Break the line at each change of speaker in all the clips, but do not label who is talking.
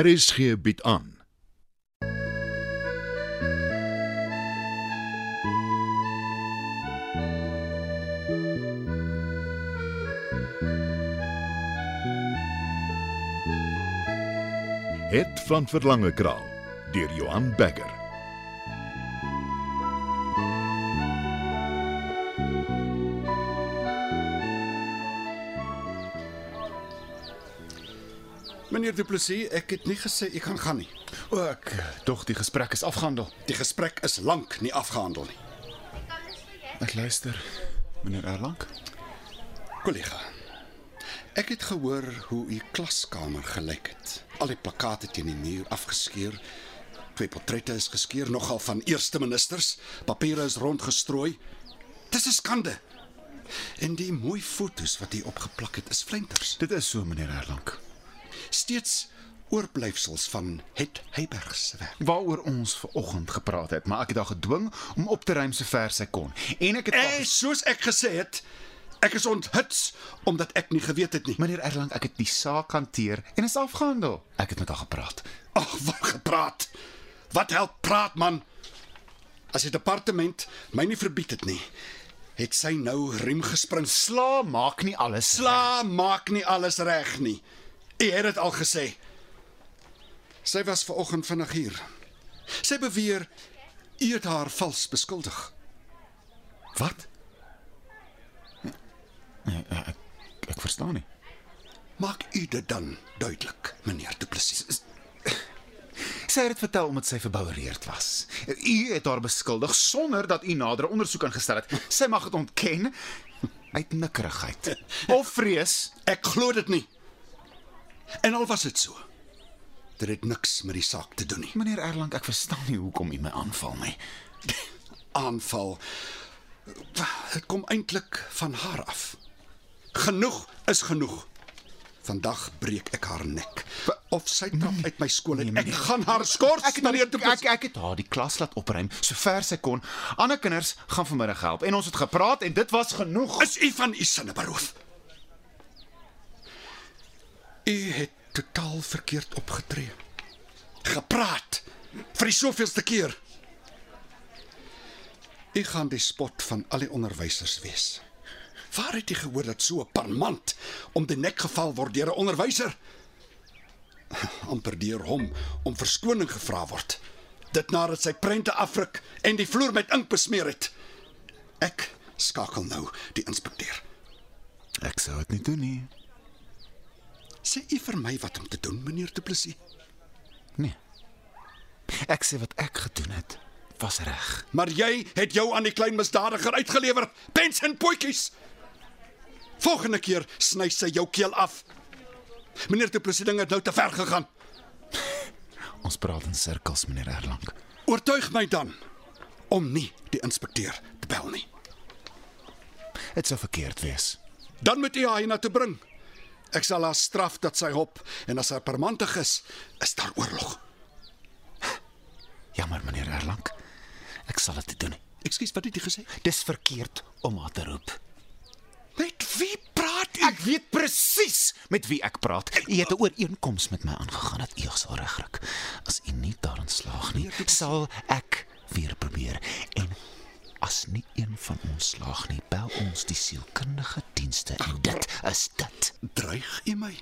RSG bied aan. Het van Verlange Kraal deur Johan Becker.
Meneer Du Plessis, ek het nie gesê ek kan gaan nie.
Ook, tog die gesprek is afgehandel.
Die gesprek is lank nie afgehandel nie.
Ek luister, meneer Erlang.
Kollega, ek het gehoor hoe u klaskamer gelyk het. Al die plakate teen die muur afgeskeur. Twee portrette is geskeur nogal van eerste ministers. Papiere is rondgestrooi. Dis 'n skande. En die mooi fotos wat u opgeplak het is flenters.
Dit is so, meneer Erlang.
Steeds oorblyfsels van het Heyberg se werk.
Waaroor ons ver oggend gepraat het, maar ek het haar gedwing om op te ruim so ver sy kon. En ek het
En soos ek gesê het, ek is onthuts omdat ek nie geweet het nie.
meneer Erlang, ek het die saak hanteer en is afgehandel. Ek het met haar gepraat.
Ag, wat gepraat. Wat help praat man? As die departement my nie verbied het nie, het sy nou riem gespring.
Sla maak nie alles.
Sla maak nie alles reg nie. U het dit al gesê. Sy was ver oggend vinnig hier. Sy beweer u het haar vals beskuldig.
Wat? Nee, ek, ek verstaan nie.
Maak u dit dan duidelik, meneer Du Plessis.
Sy het dit vertel omdat sy verboureerd was. U het haar beskuldig sonder dat u nadere ondersoek ingestel het. Sy mag dit ontken uit nikkerigheid of vrees.
Ek glo dit nie. En al was dit so, dit het niks met die saak te doen nie.
Meneer Erlang, ek verstaan nie hoekom u my aanval nie.
aanval. Dit kom eintlik van haar af. Genoeg is genoeg. Vandag breek ek haar nek. Of sy trap uit my skool uit.
Nee,
Ek
meneer.
gaan haar skors, meneer
ek,
De
ek
Plessis.
ek het haar die klas laat opruim sover sy kon. Ander kinders gaan vanmiddag help en ons het gepraat en dit was genoeg.
Is u van u sinne beroof? U het totaal verkeerd opgetree. Gepraat vir die soveelste keer. U gaan die spot van al die onderwysers wees. Waar het u gehoor dat so 'n parmant om die nek geval word deur 'n onderwyser? Amper deur hom om verskoning gevra word. Dit nadat sy prente afruk en die vloer met ink besmeer het. Ek skakel nou die inspekteur.
Ek sou dit nie doen nie.
Sê u vir my wat om te doen, meneer Du Plessis?
Nee. Ek sê wat ek gedoen het was reg.
Maar jy het jou aan die klein misdadiger uitgelewer, pens en potjies. Volgende keer sny sy jou keel af. Meneer Du Plessis ding het nou te ver gegaan.
Ons praat in sirkels, meneer Erlang.
Oortuig my dan om nie die inspekteur te bel nie.
Dit sou verkeerd wees.
Dan moet u haar hierna toe bring. Ek sal haar straf dat sy hop en as haar permantig is, is daar oorlog.
Jammer meneer Erlang. Ek sal dit nie doen nie.
Ekskuus, wat het jy gesê?
Dis verkeerd om haar te roep.
Met wie praat u?
Ek weet presies met wie ek praat. U het 'n ooreenkoms met my aangegaan dat u sal regryk. As u nie daarin slaag nie, sal ek weer probeer en as nie een van ons slaag nie, bel ons die sielkundige dienste en dit is dit.
Dreig u my?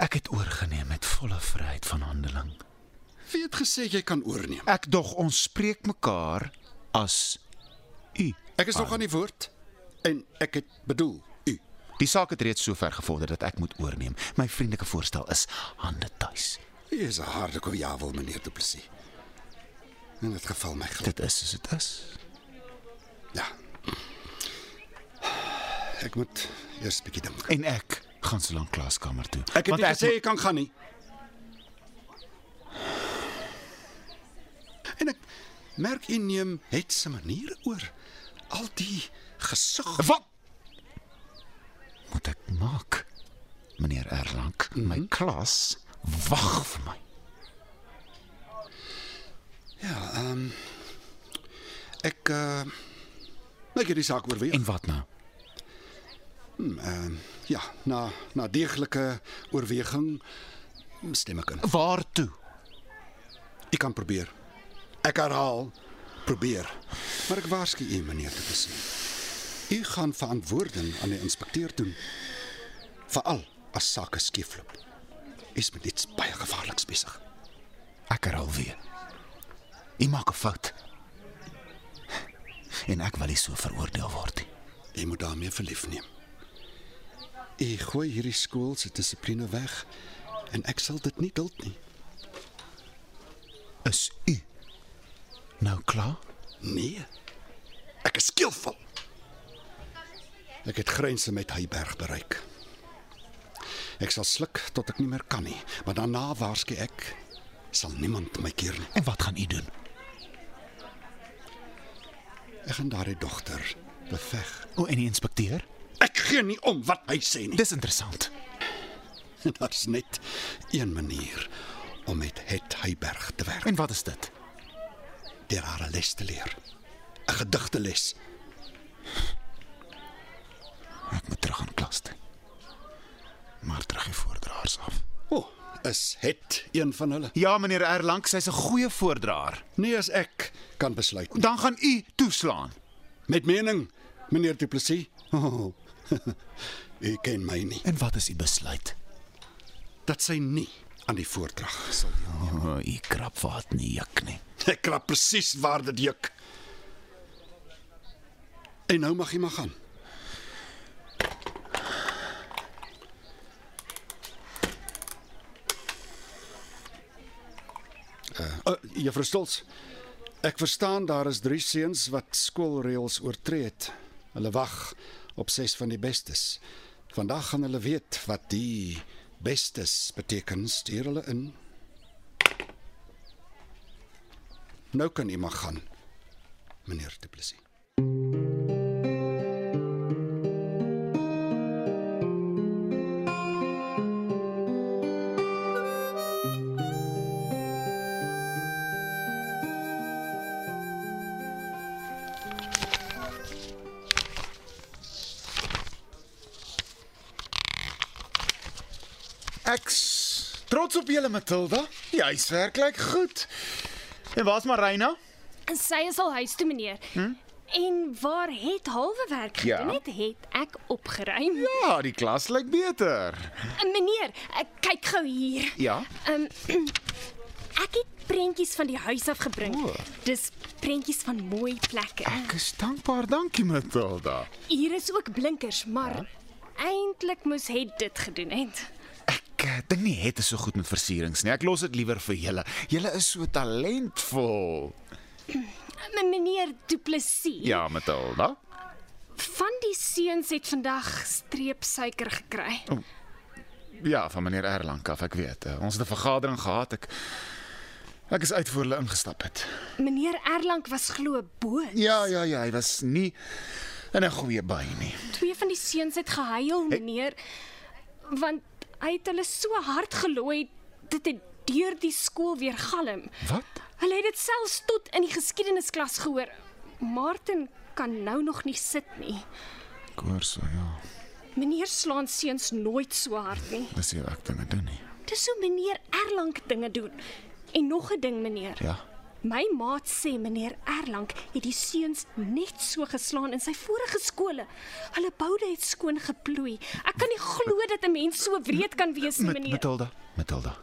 Ek het oorgeneem met volle vryheid van handeling.
Wie het gesê jy kan oorneem?
Ek dog ons spreek mekaar as u.
Ek is nog aan die woord en ek het bedoel u.
Die saak het reeds so ver gevorder dat ek moet oorneem. My vriendelike voorstel is hande tuis.
U is 'n harde kojawel, meneer Du Plessis. In dit geval my glad.
Dit is soos dit is.
Ja. Ek moet eers 'n bietjie dink.
En ek gaan so lank klaskamer toe.
Ek het
Want
nie gesê ek kan gaan nie. En ek merk u neem het se manier oor al die gesag.
Wat moet ek maak? Meneer Erlang, mm
Mhm.
-hmm. my klas wag vir my.
Ja, ehm um, ek uh, ek het eh, die saak oorweeg.
En wat nou?
Ja, na na deeglike oorweging stem ek in.
Waartoe?
Ek kan probeer. Ek herhaal, probeer. Maar ek waarsku u, meneer de Plessis. U gaan verantwoording aan die inspekteur doen. Veral as sake skeefloop. Is met iets baie gevaarliks besig.
Ek herhaal weer. Jy maak 'n fout. En ek wil nie so veroordeel word nie.
U moet daarmee verlief neem. U gooi hierdie skool se dissipline weg en ek sal dit nie duld nie.
Is u nou klaar?
Nee. Ek is skilvol. Ek het grense met Heiberg bereik. Ek sal sluk tot ek nie meer kan nie, maar daarna waarsku ek sal niemand my keer nie.
En wat gaan u doen?
Ek gaan daardie dogter beveg.
O, en die inspekteur?
Ek gee nie om wat hy sê nie.
Dis interessant.
Daar's net een manier om met Het Heiberg te werk,
En wat is dit?
deur haar 'n les te leer. 'n Gedigte les.
Ek moet terug aan klas toe. Maar terug die voordraers af.
O, oh, is Het een van hulle?
Ja, meneer Erlang, sy's 'n goeie voordraer.
Nee, as ek kan besluit.
Dan gaan u toeslaan.
Met mening, meneer Du Plessis. Oh, u ken my nie.
En wat is u besluit?
Dat sy nie aan die voordrag sal deel.
O, oh, u krap wat nie juk nie.
Ek klap presies waar dit juk. En nou mag jy maar gaan. Uh, uh, Juffrou Stolz, ek verstaan daar is drie seuns wat skoolreëls oortree het. Hulle wag op ses van die bestes. Vandag gaan hulle weet wat die bestes beteken. Stuur hulle in. Nou kan u maar gaan, meneer Du Plessis.
Ek s- trots op julle Matilda. Die huiswerk lyk goed. En waar's Marina?
En sy is al huis toe, meneer. Hm? En waar het halwe werk
Ja.
gedoen het, het ek opgeruim.
Ja, die klas lyk beter.
Eh, Meneer, ek kyk gou hier.
Ja.
Um ek het prentjies van die huis af gebring.
O. Ah.
Dis prentjies van mooi plekke.
Ek is dankbaar, dankie Matilda.
Hier is ook blinkers, maar
Ja.
eintlik moes het dit gedoen het.
Ek eh, dink nie het is so goed met versierings nie. Ek los dit liewer vir julle. Julle is so talentvol.
Eh, Meneer Du Plessis,
Ja, Matilda.
van die seuns het vandag streepsuiker gekry.
Ja, van meneer Erlang af, ek weet. eh, Ons het 'n vergadering gehad. Ek Ek is uit voor hulle ingestap het.
Meneer Erlang was glo boos.
Ja, ja, ja, hy was nie in 'n goeie by nie.
Twee van die seuns het gehuil, meneer, want hy het hulle so hard gelooi dit het deur die skool weer galm.
Wat?
Hulle het dit selfs tot in die geskiedenisklas gehoor. Martin kan nou nog nie sit nie.
Koers, ja.
Meneer slaan seuns nooit so hard nie.
Dis hier ek dinge doen nie.
Dis hoe meneer Erlang dinge doen. En nog 'n ding, meneer.
Ja.
My maat sê meneer Erlang het die seuns net so geslaan in sy vorige skole. Hulle boude het skoon geploei. Ek kan nie glo dat 'n mens so wreed kan wees nie,
Met
meneer.
Matilda. Matilda.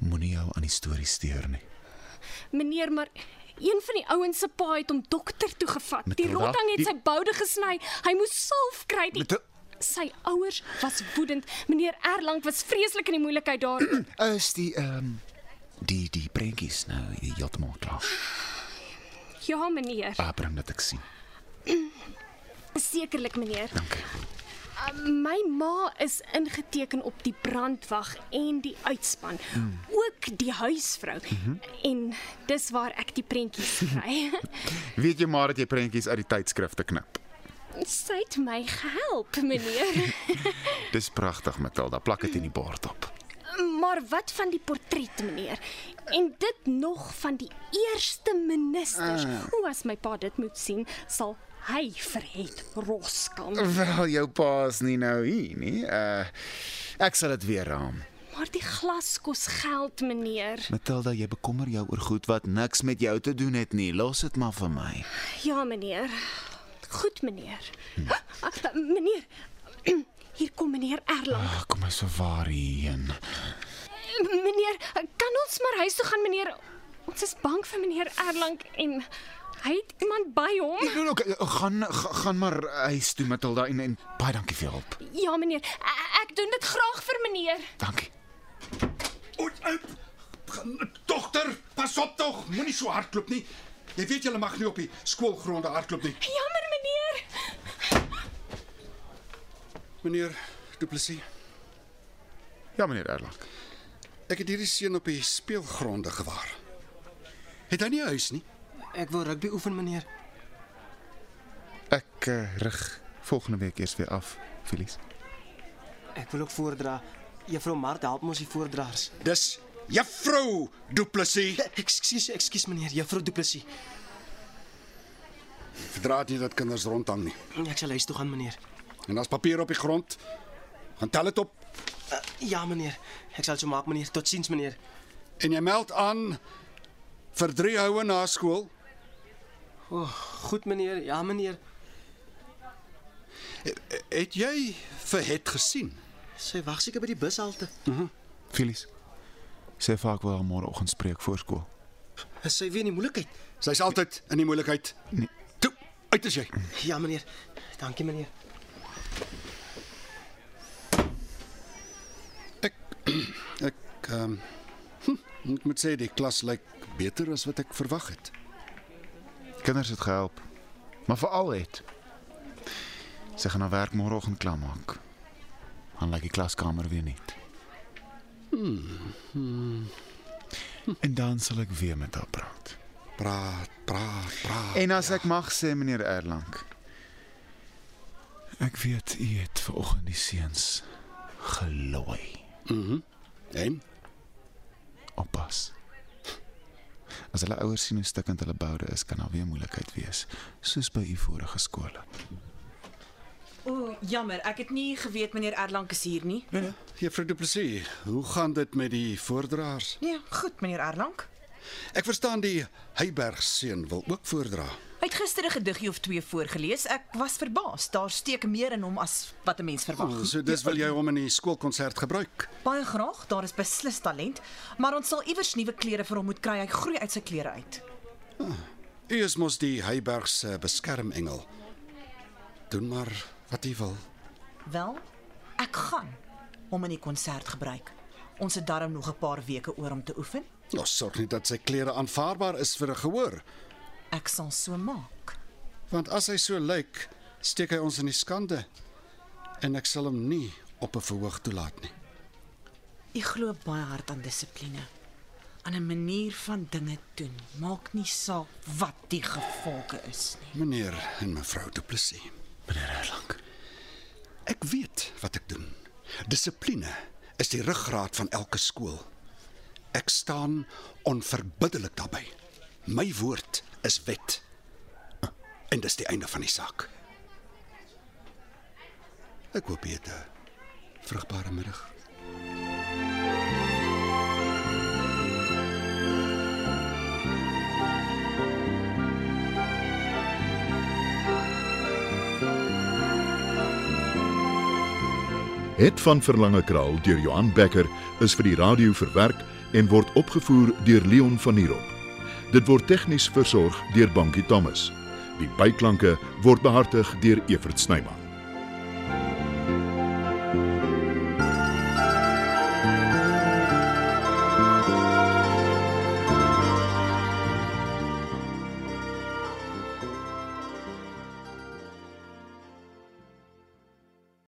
Moenie jou aan die storie steur nie.
Meneer, maar een van die ouens se pa het hom dokter toe gevat. Die
Matilda,
rotang het
die-
sy boude gesny. Hy moes salf kry. Die...
Matil-
Sy ouers was woedend. Meneer Erlang was vreeslik in die moeilikheid daar.
Is die ehm um, die die prentjies nou heeltemal klaar?
ja, meneer.
Ah, bring dit ek sien.
Sekerlik, meneer.
Dankie.
Ehm, My ma is ingeteken op die brandwag en die uitspan, mm. ook die huisvrou. Mm -hmm. En dis waar ek die prentjies kry.
Weet jy maar dat jy prentjies uit die tydskrifte knip.
Sy het my gehelp, meneer.
Dis pragtig, Matilda. Plak dit in die bord op.
maar wat van die portret, meneer? En dit nog van die eerste minister. Hoe as my pa dit moet sien, sal hy vir het Roskam.
Mm.
Wel, jou pa is nie nou hier nie. Uh ek sal dit weer raam.
Maar die glas kos geld, meneer.
Matilda, jy bekommer jou oor goed wat niks met jou te doen het nie. Los dit maar vir my.
Ja, meneer. Goed, meneer. Ag, meneer. Hier kom meneer Erlang.
Ag, kom ons verwar hierheen.
Meneer, kan ons maar huis toe gaan, meneer? Ons is bang vir meneer Erlang en hy het iemand by hom.
Nou, okay, gaan ga- gaan maar huis toe Matilda en, en baie dankie vir jou hulp.
Ja, meneer. e- Ek doen dit graag vir meneer.
Dankie.
Oet, oet. Dogter, pas op tog, moenie so hardloop nie. Jy weet jy mag nie op die skoolgronde hardloop nie.
Jammer, meneer.
Meneer Du Plessis,
Ja, meneer Erlang.
ek het hierdie seun op die speelgronde gewaar. Het hy nie 'n huis nie?
Ek wil rugby oefen, meneer.
Ek uh, rig volgende week eers weer af, Felies.
Ek wil ook voordra. Juffrou Mart help ons die voordraers.
Dis Juffrou Du Plessis.
Eh, Ekskuus, ekskuus meneer, Juffrou Du Plessis.
Verdra dit nie dat kinders rondhang nie.
Ek sal huis toe gaan, meneer.
En as papier op die grond, gaan tel dit op
Uh, ja, meneer. Ek sal so maak, meneer. Totsiens, meneer.
en jy meld aan vir drie houe na skool.
Goed, meneer. Ja, meneer.
Het jy vir het gesien?
Sy wag seker by die bushalte.
Felies. Sê vir haar ek wil haar môreoggend spreek voor skool.
Is sy weer in die moeilikheid?
Sy's altyd in die moeilikheid. Nee. Toe, uit as jy.
Ja, meneer. Dankie, meneer.
Ek ehm um, hm, ek moet sê die klas lyk beter as wat ek verwag het.
Kinders het gehelp. Maar veral het. Sy gaan haar werk môreoggend klaar maak. Dan lyk die klaskamer weer net. En dan sal ek weer met haar praat.
Praat, praat, praat.
En as ek mag sê meneer Erlang. Ek weet u het vanoggend die seuns gelooi.
En
Oppas. As hulle ouers sien hoe stikkend hulle boude is, kan daar weer moeilikheid wees, soos by u vorige skole.
O, jammer, ek het nie geweet meneer Erlang is hier nie.
Juffrou Du Plessis, hoe gaan dit met die voordraers?
Nee, goed meneer Erlang.
Ek verstaan die Heyberg seun wil ook voordra.
Hy het gister 'n gediggie of twee voorgeles. Ek was verbaas. Daar steek meer in hom as wat 'n mens verwag.
Oh, so dis wil jy hom in die skoolkonsert gebruik.
Baie graag, daar is beslis talent, maar ons sal iewers nuwe klere vir hom moet kry. Hy groei uit sy klere uit.
U is mos die Heyberg se beskermengel. Doen maar wat u wil.
Wel, ek gaan hom in die konsert gebruik. Ons het darm nog 'n paar weke oor om te oefen.
Ons Nou, sorg net dat sy klere aanvaarbaar is vir 'n gehoor,
Ek sal so maak.
want as hy so lyk, steek hy ons in die skande. En ek sal hom nie op 'n verhoog toelaat nie.
Ek glo baie hard aan dissipline. Aan 'n manier van dinge doen. Maak nie saak wat die gevolge is nie.
Meneer en mevrou Du Plessis,
Meneer Erlang.
ek weet wat ek doen. Dissipline is die ruggraat van elke skool. Ek staan onverbiddelik daarbey. My woord is wet. En dis die einde van die saak. Ek hoop jy het 'n vrugbare middag.
Het van Verlange Kraal deur Johan Becker is vir die radio verwerk en word opgevoer deur Leon Van Heerop. Dit word tegnies versorg deur Bankie Thomas. Die byklanke word behartig deur Evert Snyman.